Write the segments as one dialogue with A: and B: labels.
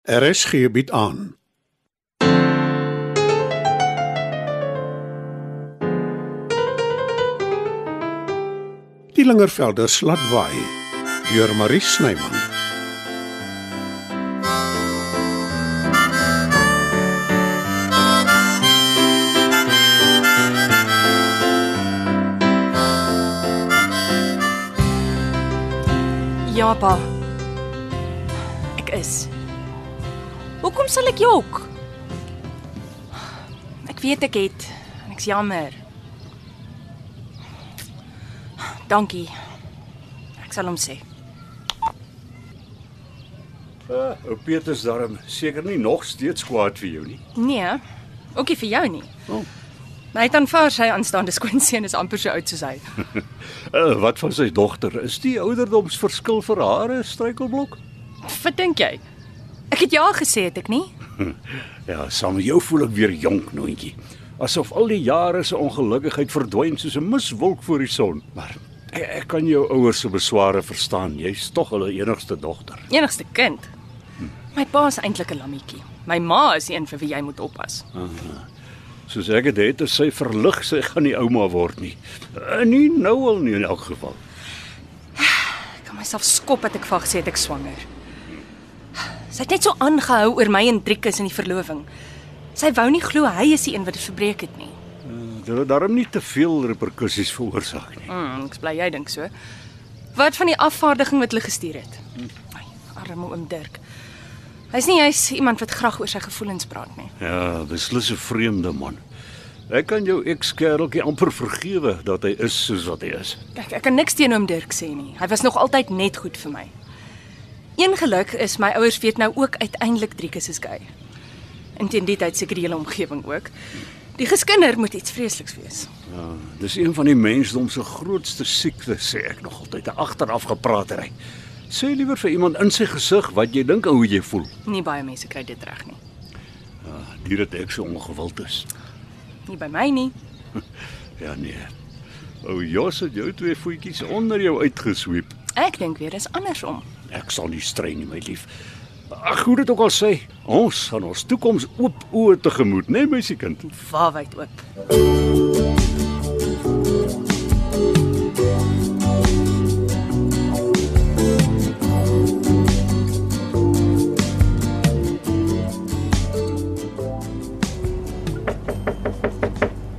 A: Er is gebied aan. Die Lingervelde slatwaai deur Marie Snyman.
B: Ja, pa. Ek is. Hoekom sal ek jok? Ek weet ek het en ek's jammer. Dankie. Ek sal hom sê.
C: Uh, ou Petrus daarom seker nie nog steeds kwaad vir jou nie.
B: Nee, ookie vir jou nie.
C: O.
B: Maar hy het aanvaar sy aanstaande skoonseun is amper so oud soos hy.
C: Uh, wat van sy dogter? Is die ouderdomsverskil vir haar 'n struikelblok?
B: Wat dink jy? Ek het ja gesê het ek nie?
C: Ja, saam met jou voel ek weer jonk, noontjie. Asof al die jare se ongelukkigheid verdwyn soos 'n miswolk voor die son. Maar ek, ek kan jou ouers se besware verstaan. Jy's tog hulle enigste dogter.
B: Enigste kind. My pa is eintlik 'n lammetjie. My ma is die een vir wie jy moet oppas.
C: Soos ek dit het, het, is sy verlig sy gaan nie ouma word nie. Uh, nie nou al nie in elk geval.
B: Ek kan myself skop dat ek vir haar gesê het ek swanger. Sy het net so aangehou oor my en Driekus in die verloving. Sy wou nie glo hy is die een wat dit verbreek het nie.
C: Uh, dit het daarom nie te veel reperkusies veroorsaak nie.
B: Mm, ek is bly jy dink so. Wat van die afvaardiging wat hulle gestuur het? Ai, arme oom Dirk. Hy's nie hy's iemand wat graag oor sy gevoelens praat nie.
C: Ja, beslis 'n vreemde man. Ek kan jou ekskereltjie amper vergewe dat hy is soos wat hy is.
B: Kyk, ek kan niks teen oom Dirk sê nie. Hy was nog altyd net goed vir my. Een geluk is my ouers weet nou ook uiteindelik Driekus is gay. Inteen die tyd seker die hele omgewing ook. Die geskinder moet iets vreesliks wees.
C: Ja, dis een van die mensdom se grootste siektes, sê ek nog altyd, 'n agteraf gepraatery. Sê liewer vir iemand in sy gesig wat jy dink en hoe jy voel.
B: Nie baie mense kry dit reg nie.
C: Ja, Dier dat ek so ongewild is.
B: Nie by my nie.
C: Ja nee. Ou Jos het jou twee voetjies onder jou uitgesweep.
B: Ek dink weer dis andersom.
C: Ek sal nie strei nie, my lief. Ag, hoe dit ook al sê, ons gaan ons toekoms oop oë tegemoet, né, nee, meisiekind?
B: Waarwyd oop.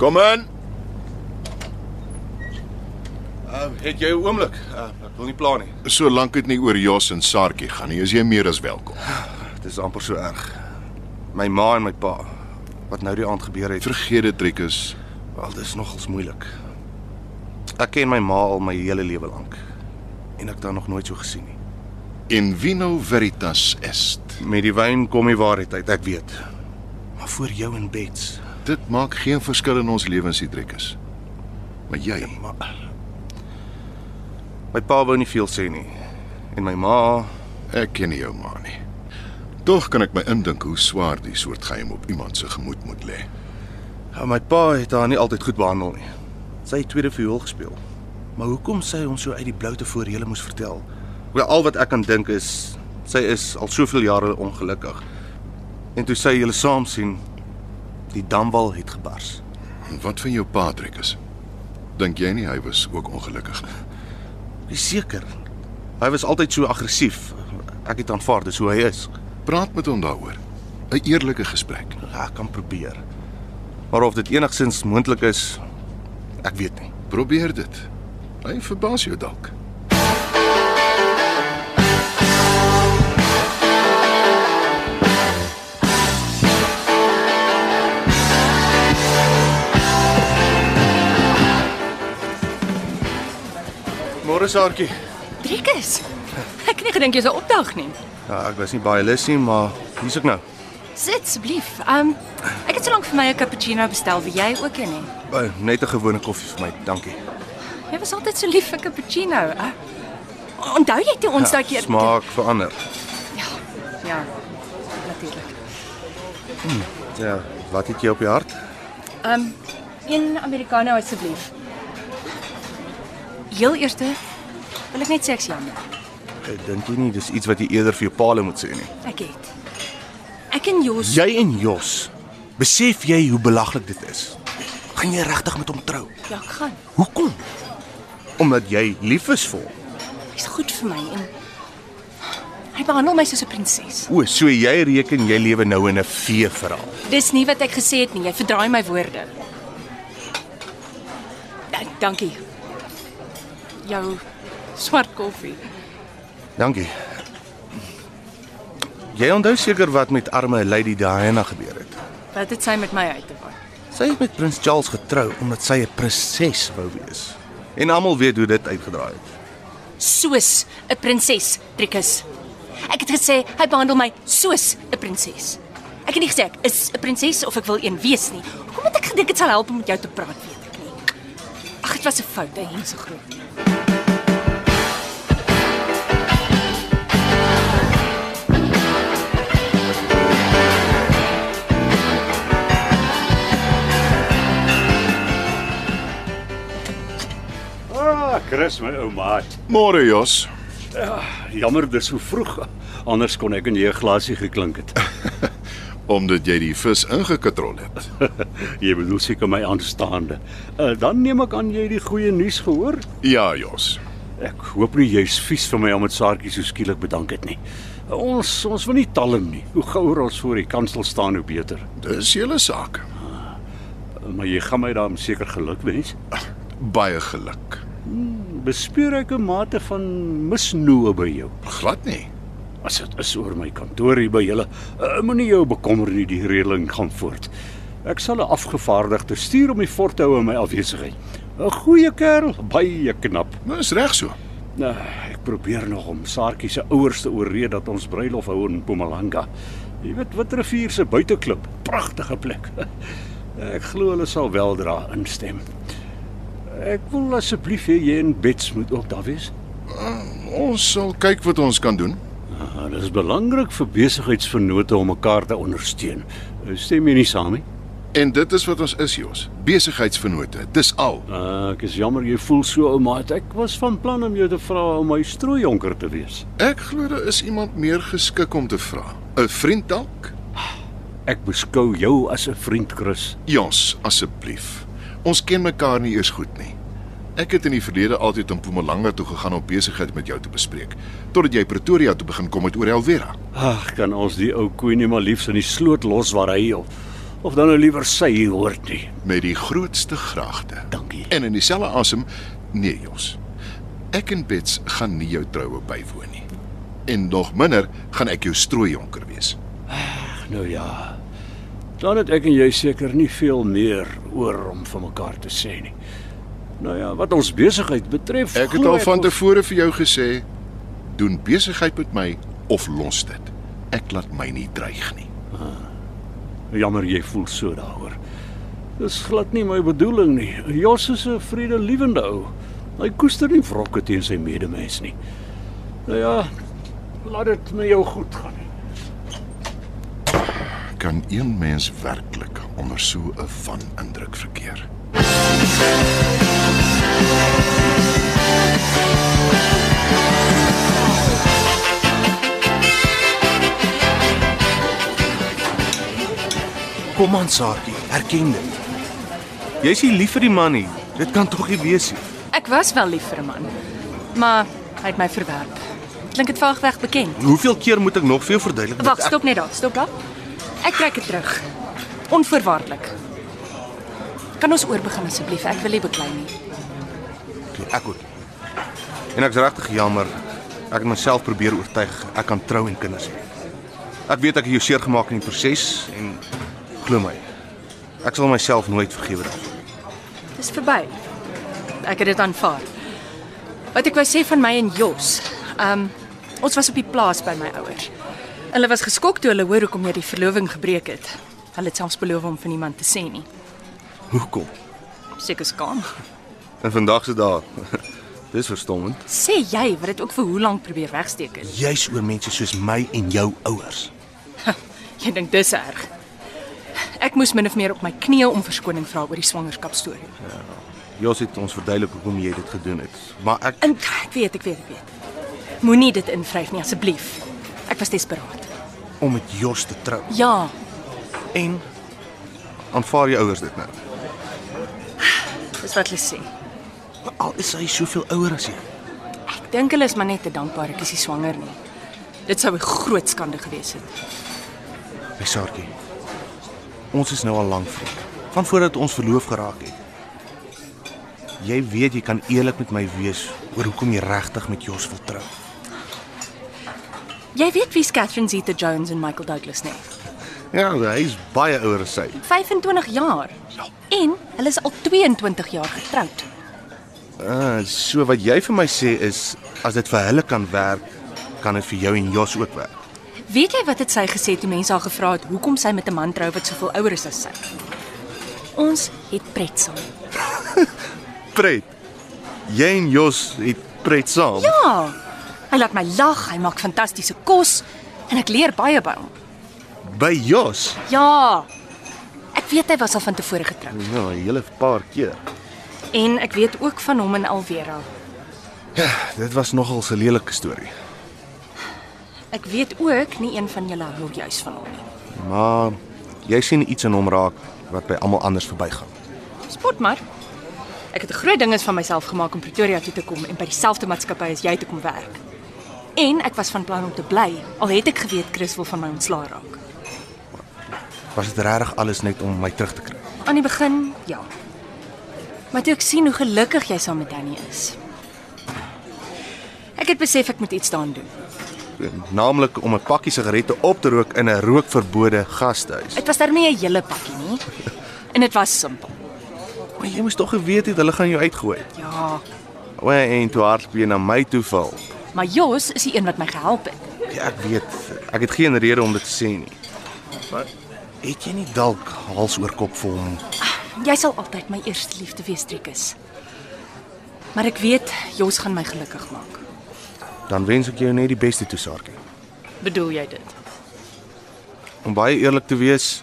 D: Kom in.
E: Uh, het jy 'n oomblik? Uh, ek wil nie pla nie.
D: Solank dit nie oor Jos en Saartjie gaan nie, is jy meer as welkom.
E: Dit is amper so erg. My ma en my pa wat nou die aand gebeur het.
D: Vergeet dit, Trikus.
E: Wel, dis nogals moeilik. Ek ken my ma al my hele lewe lank en ek het haar nog nooit so gesien nie.
D: En vino veritas est.
E: Met die wyn kom die waarheid uit, ek weet. Maar voor jou en Bets,
D: Dit maak geen verskil in ons lewens, die Trikus. Maar jy,
E: maar my pa wou nie veel sê nie en my ma
D: ek ken nie jou ma nie. Tog kan ek my indink hoe swaar die soort geheim op iemand se gemoed moet lê.
E: Ja, my pa het haar nie altyd goed behandel nie. Sy het tweede viool gespeel. Maar hoekom sê hy ons so uit die blou tevore hele moes vertel? Wel al wat ek kan dink is sy is al soveel jare ongelukkig. En toe sy julle saam sien, die damwal het gebars.
D: En wat van jou pa, Trikus? Dink jy nie hy was ook ongelukkig nie?
E: Ek is seker. Hy was altyd so aggressief. Ek het aanvaar dis hoe hy is.
D: Praat met hom daaroor. 'n Eerlike gesprek.
E: Ja, Ek kan probeer. Maar of dit enigsins moontlik is, ek weet nie.
D: Probeer dit. Hy verbaas jou dalk.
E: Môre saartjie.
B: Driekus. Ek het nie gedink jy sou opdag nie.
E: Ja, ek was nie baie lus nie, maar hier's ek nou.
B: Sit asseblief. Um ek het solank vir my 'n cappuccino bestel, wie jy ook een nie.
E: Uh, net 'n gewone koffie vir my, dankie.
B: Jy was altyd so lief vir cappuccino. Uh, onthou jy toe ons daai keer
E: Ja, smaak verander.
B: Ja. Ja. Natuurlik.
E: Ja, wat het jy op jou hart?
B: Um een americano asseblief. Heel eerste wil ek net sê ek's jammer.
E: Ek dink jy nie dis iets wat jy eerder vir jou paal moet sê nie.
B: Ek het. Ek en Jos,
E: Jy en Jos, besef jy hoe belaglik dit is? Gaan jy regtig met hom trou?
B: ja, ek gaan.
E: Hoekom? Omdat jy lief is vir hom.
B: Hy's goed vir my en hy behandel my soos 'n prinses.
E: O, so jy reken jy lewe nou in 'n fee verhaal.
B: Dis nie wat ek gesê het nie. Jy verdraai my woorde. Da- Dankie. Jou swart koffie.
E: Dankie. Jy onthou seker wat met arme Lady Diana gebeur het.
B: Wat het sy met my uit te waai?
E: Sy het met Prins Charles getrou omdat sy 'n prinses wou wees. En almal weet hoe dit uitgedraai het.
B: Soos 'n prinses, Trikus. Ek het gesê hy behandel my soos 'n prinses. Ek het nie gesê ek is 'n prinses of ek wil een wees nie. Hoekom het ek gedink dit sal help om met jou te praat, weet ek nie. Ag, dit was 'n fout, hy is so groot.
C: Ah, Chris my ou maat.
D: Môre Jos.
C: Jammer dis so vroeg. Anders kon ek en jy 'n glasie geklink het.
D: Omdat jy die vis ingekatrol het.
C: jy bedoel seker my aanstaande. Uh, dan neem ek aan jy het die goeie nuus gehoor.
D: Ja, Jos.
C: Ek hoop nie jy's vies vir my om dit saartjie so skielik bedank het nie. Ons ons wil nie talm nie. Hoe gouer ons voor die kansel staan hoe beter.
D: Dis julle saak.
C: Maar jy gaan my daarom seker geluk wens.
D: Baie geluk.
C: Bespeer ek 'n mate van misnoë by jou.
D: Glad nie.
C: As dit is oor my kantoor hier by julle, uh, moenie jou bekommer nie, die reëling gaan voort. Ek sal 'n afgevaardigde stuur om die fort te hou in my afwesigheid. 'n Goeie kerel, baie knap.
D: Dis reg so.
C: Nou, ek probeer nog om Saartjie se ouers te oorreed dat ons bruilof hou in Mpumalanga. Jy weet Witrivier se buiteklip, pragtige plek. Ek glo hulle sal weldra instem. Ek wil asseblief hê jy en Bets moet ook daar wees.
D: Ons sal kyk wat ons kan doen.
C: Ah, dit is belangrik vir besigheidsvennote om mekaar te ondersteun. Eh, Stem jy nie saam nie?
D: En dit is wat ons is, Jos. Besigheidsvennote. Dis al.
C: Uh, ek is jammer jy voel so ouma. Ek was van plan om jou te vra om my strooijonker te wees.
D: Ek glo daar is iemand meer geskik om te vra. 'n Vriend dalk?
C: Ek beskou jou as 'n vriend, Chris.
D: Jos, asseblief. Ons ken mekaar nie eers goed nie. Ek het in die verlede altyd in Mpumalanga toe gegaan om besigheid met jou te bespreek, totdat jy Pretoria toe begin kom met oor Elvera.
C: Ag, kan ons die ou koe nie maar liefs in die sloot los waar hy of, of dan nou liewer sy hoort nie.
D: Met die grootste graagte.
C: Dankie.
D: En in dieselfde asem, nee Jos. Ek en Bets gaan nie jou troue bywoon nie. En nog minder gaan ek jou strooijonker wees.
C: Ag, nou ja. Dan het ek en jy seker nie veel meer oor om van mekaar te sê nie. Nou ja, wat ons besigheid betref,
D: Ek het
C: glo
D: al van
C: ons-
D: tevore vir jou gesê, doen besigheid met my of los dit. Ek laat my nie dreig nie.
C: Jammer jy voel so daaroor. Dis glad nie my bedoeling nie. Jos is 'n vredelewende ou. Hy koester nie wrokke teen sy medemens nie. Nou ja, laat dit met jou goed gaan.
D: Kan een mens werklik onder so 'n van indruk verkeer?
E: Kom aan, Saartjie, erken dit. Jy's nie lief vir die man nie. Dit kan tog nie wees nie.
B: Ek was wel lief vir 'n man, maar hy het my verwerp. Klink dit vaagweg bekend?
E: Hoeveel keer moet ek nog vir jou verduidelik? dat
B: Wag,
E: ek-
B: stop net daar, stop daar. Ek trek dit terug. Onvoorwaardelik. Kan ons oorbegin asseblief? Ek wil nie beklei nie.
E: Nee, Ek ook. nie. En ek's regtig jammer. Ek het myself probeer oortuig ek kan trou en kinders hê. Ek weet ek het jou seer gemaak in die proses en glo my. Ek sal myself nooit vergewe daarvoor.
B: Dis verby. Ek het dit aanvaar. Wat ek wou sê van my en Jos. Ehm um, ons was op die plaas by my ouers. Hulle was geskok toe hulle hoor hoekom jy die verloving gebreek het. Hulle het selfs beloof om van iemand te sê nie.
E: Hoekom?
B: Seker skaam.
E: En vandag se dag. Dis verstommend.
B: Sê jy wat dit ook vir hoe lank probeer wegsteek het.
E: Juis oor mense soos my en jou ouers.
B: Jy dink dis erg. Ek moes min of meer op my knieë om verskoning vra oor die swangerskapstorie.
E: Jos het ons verduidelik hoekom jy dit gedoen het, maar ek
B: En ek weet, ek weet, ek weet. Moenie dit invryf nie asseblief. Ek was desperaat.
E: om met Jos te trou.
B: Ja,
E: En aanvaar jou ouers dit nou.
B: dis wat hulle sê.
E: Al is hy soveel ouer as jy.
B: Ek dink hulle is maar net te dankbaar ek is nie swanger nie. Dit sou 'n groot skande gewees het.
E: My saartjie. Ons is nou al lank vriende. Van voordat ons verloof geraak het. Jy weet jy kan eerlik met my wees oor hoekom jy regtig met Jos wil trou.
B: Jy weet wie's Catherine Zeta-Jones en Michael Douglas nie.
E: Ja, hy's baie ouer as sy.
B: 25 jaar.
E: Ja.
B: En hulle is al 22 jaar getroud.
E: Ah, so wat jy vir my sê is as dit vir hulle kan werk, kan dit vir jou en Jos ook werk.
B: Weet jy wat het sy gesê toe mense haar gevra het hoekom sy met 'n man trou wat soveel ouer is as sy? Ons het pret saam.
E: Pret. Jy en Jos het pret saam.
B: Ja. Hy laat my lag, hy maak fantastiese kos en ek leer baie by hom.
E: By Jos.
B: Ja. Ek weet hy was al van tevore getroud
E: Ja, 'n hele paar keer.
B: en ek weet ook van hom en Alvera.
E: Ja, Dit was nogal 'n lelike storie.
B: Ek weet ook nie een van julle hou juis van hom nie.
E: Maar jy sien iets in hom raak wat by almal anders verbygaan.
B: Spot maar. Ek het 'n groot ding is van myself gemaak om Pretoria toe te kom en by dieselfde maatskappy as jy te kom werk. En ek was van plan om te bly, al het ek geweet Chris wil van my ontslaa raak.
E: Was dit regtig alles net om my terug te kry?
B: Aan die begin, ja. Maar toe ek sien hoe gelukkig jy saam met Danny is. Ek het besef ek moet iets daaraan doen.
E: Naamlik om 'n pakkie sigarette op te rook in 'n rookverbode gastehuis.
B: Dit was daarmee 'n hele pakkie nie. En dit was simpel.
E: Maar jy moes tog geweet het hulle gaan jou uitgooi.
B: Ja,
E: O, en toe hardloop jy na my toe val.
B: maar Jos is die een wat my gehelp het.
E: Ja, ek weet, ek het geen rede om dit te sê nie. Maar het jy nie dalk hals oor kop vir hom?
B: Jy sal altyd my eerste liefde wees, Trikus. Maar ek weet Jos gaan my gelukkig maak.
E: Dan wens ek jou net die beste toe, Saartjie.
B: Bedoel jy dit?
E: Om baie eerlik te wees,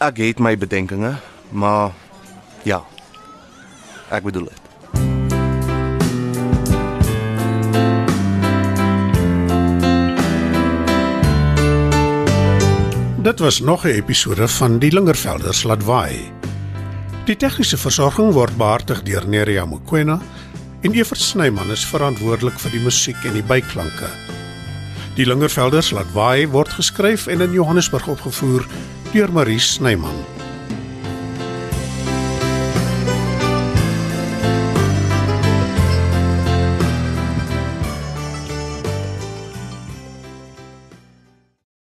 E: ek het my bedenkinge, maar ja. Ek bedoel dit.
A: Dit was nog 'n episode van Die Lingervelders laat waai. Die tegniese versorging word behartig deur Neriya Mukwena en Evert Snyman is verantwoordelik vir die musiek en die byklanke. Die Lingervelders laat waai word geskryf en in Johannesburg opgevoer deur Marie Snyman.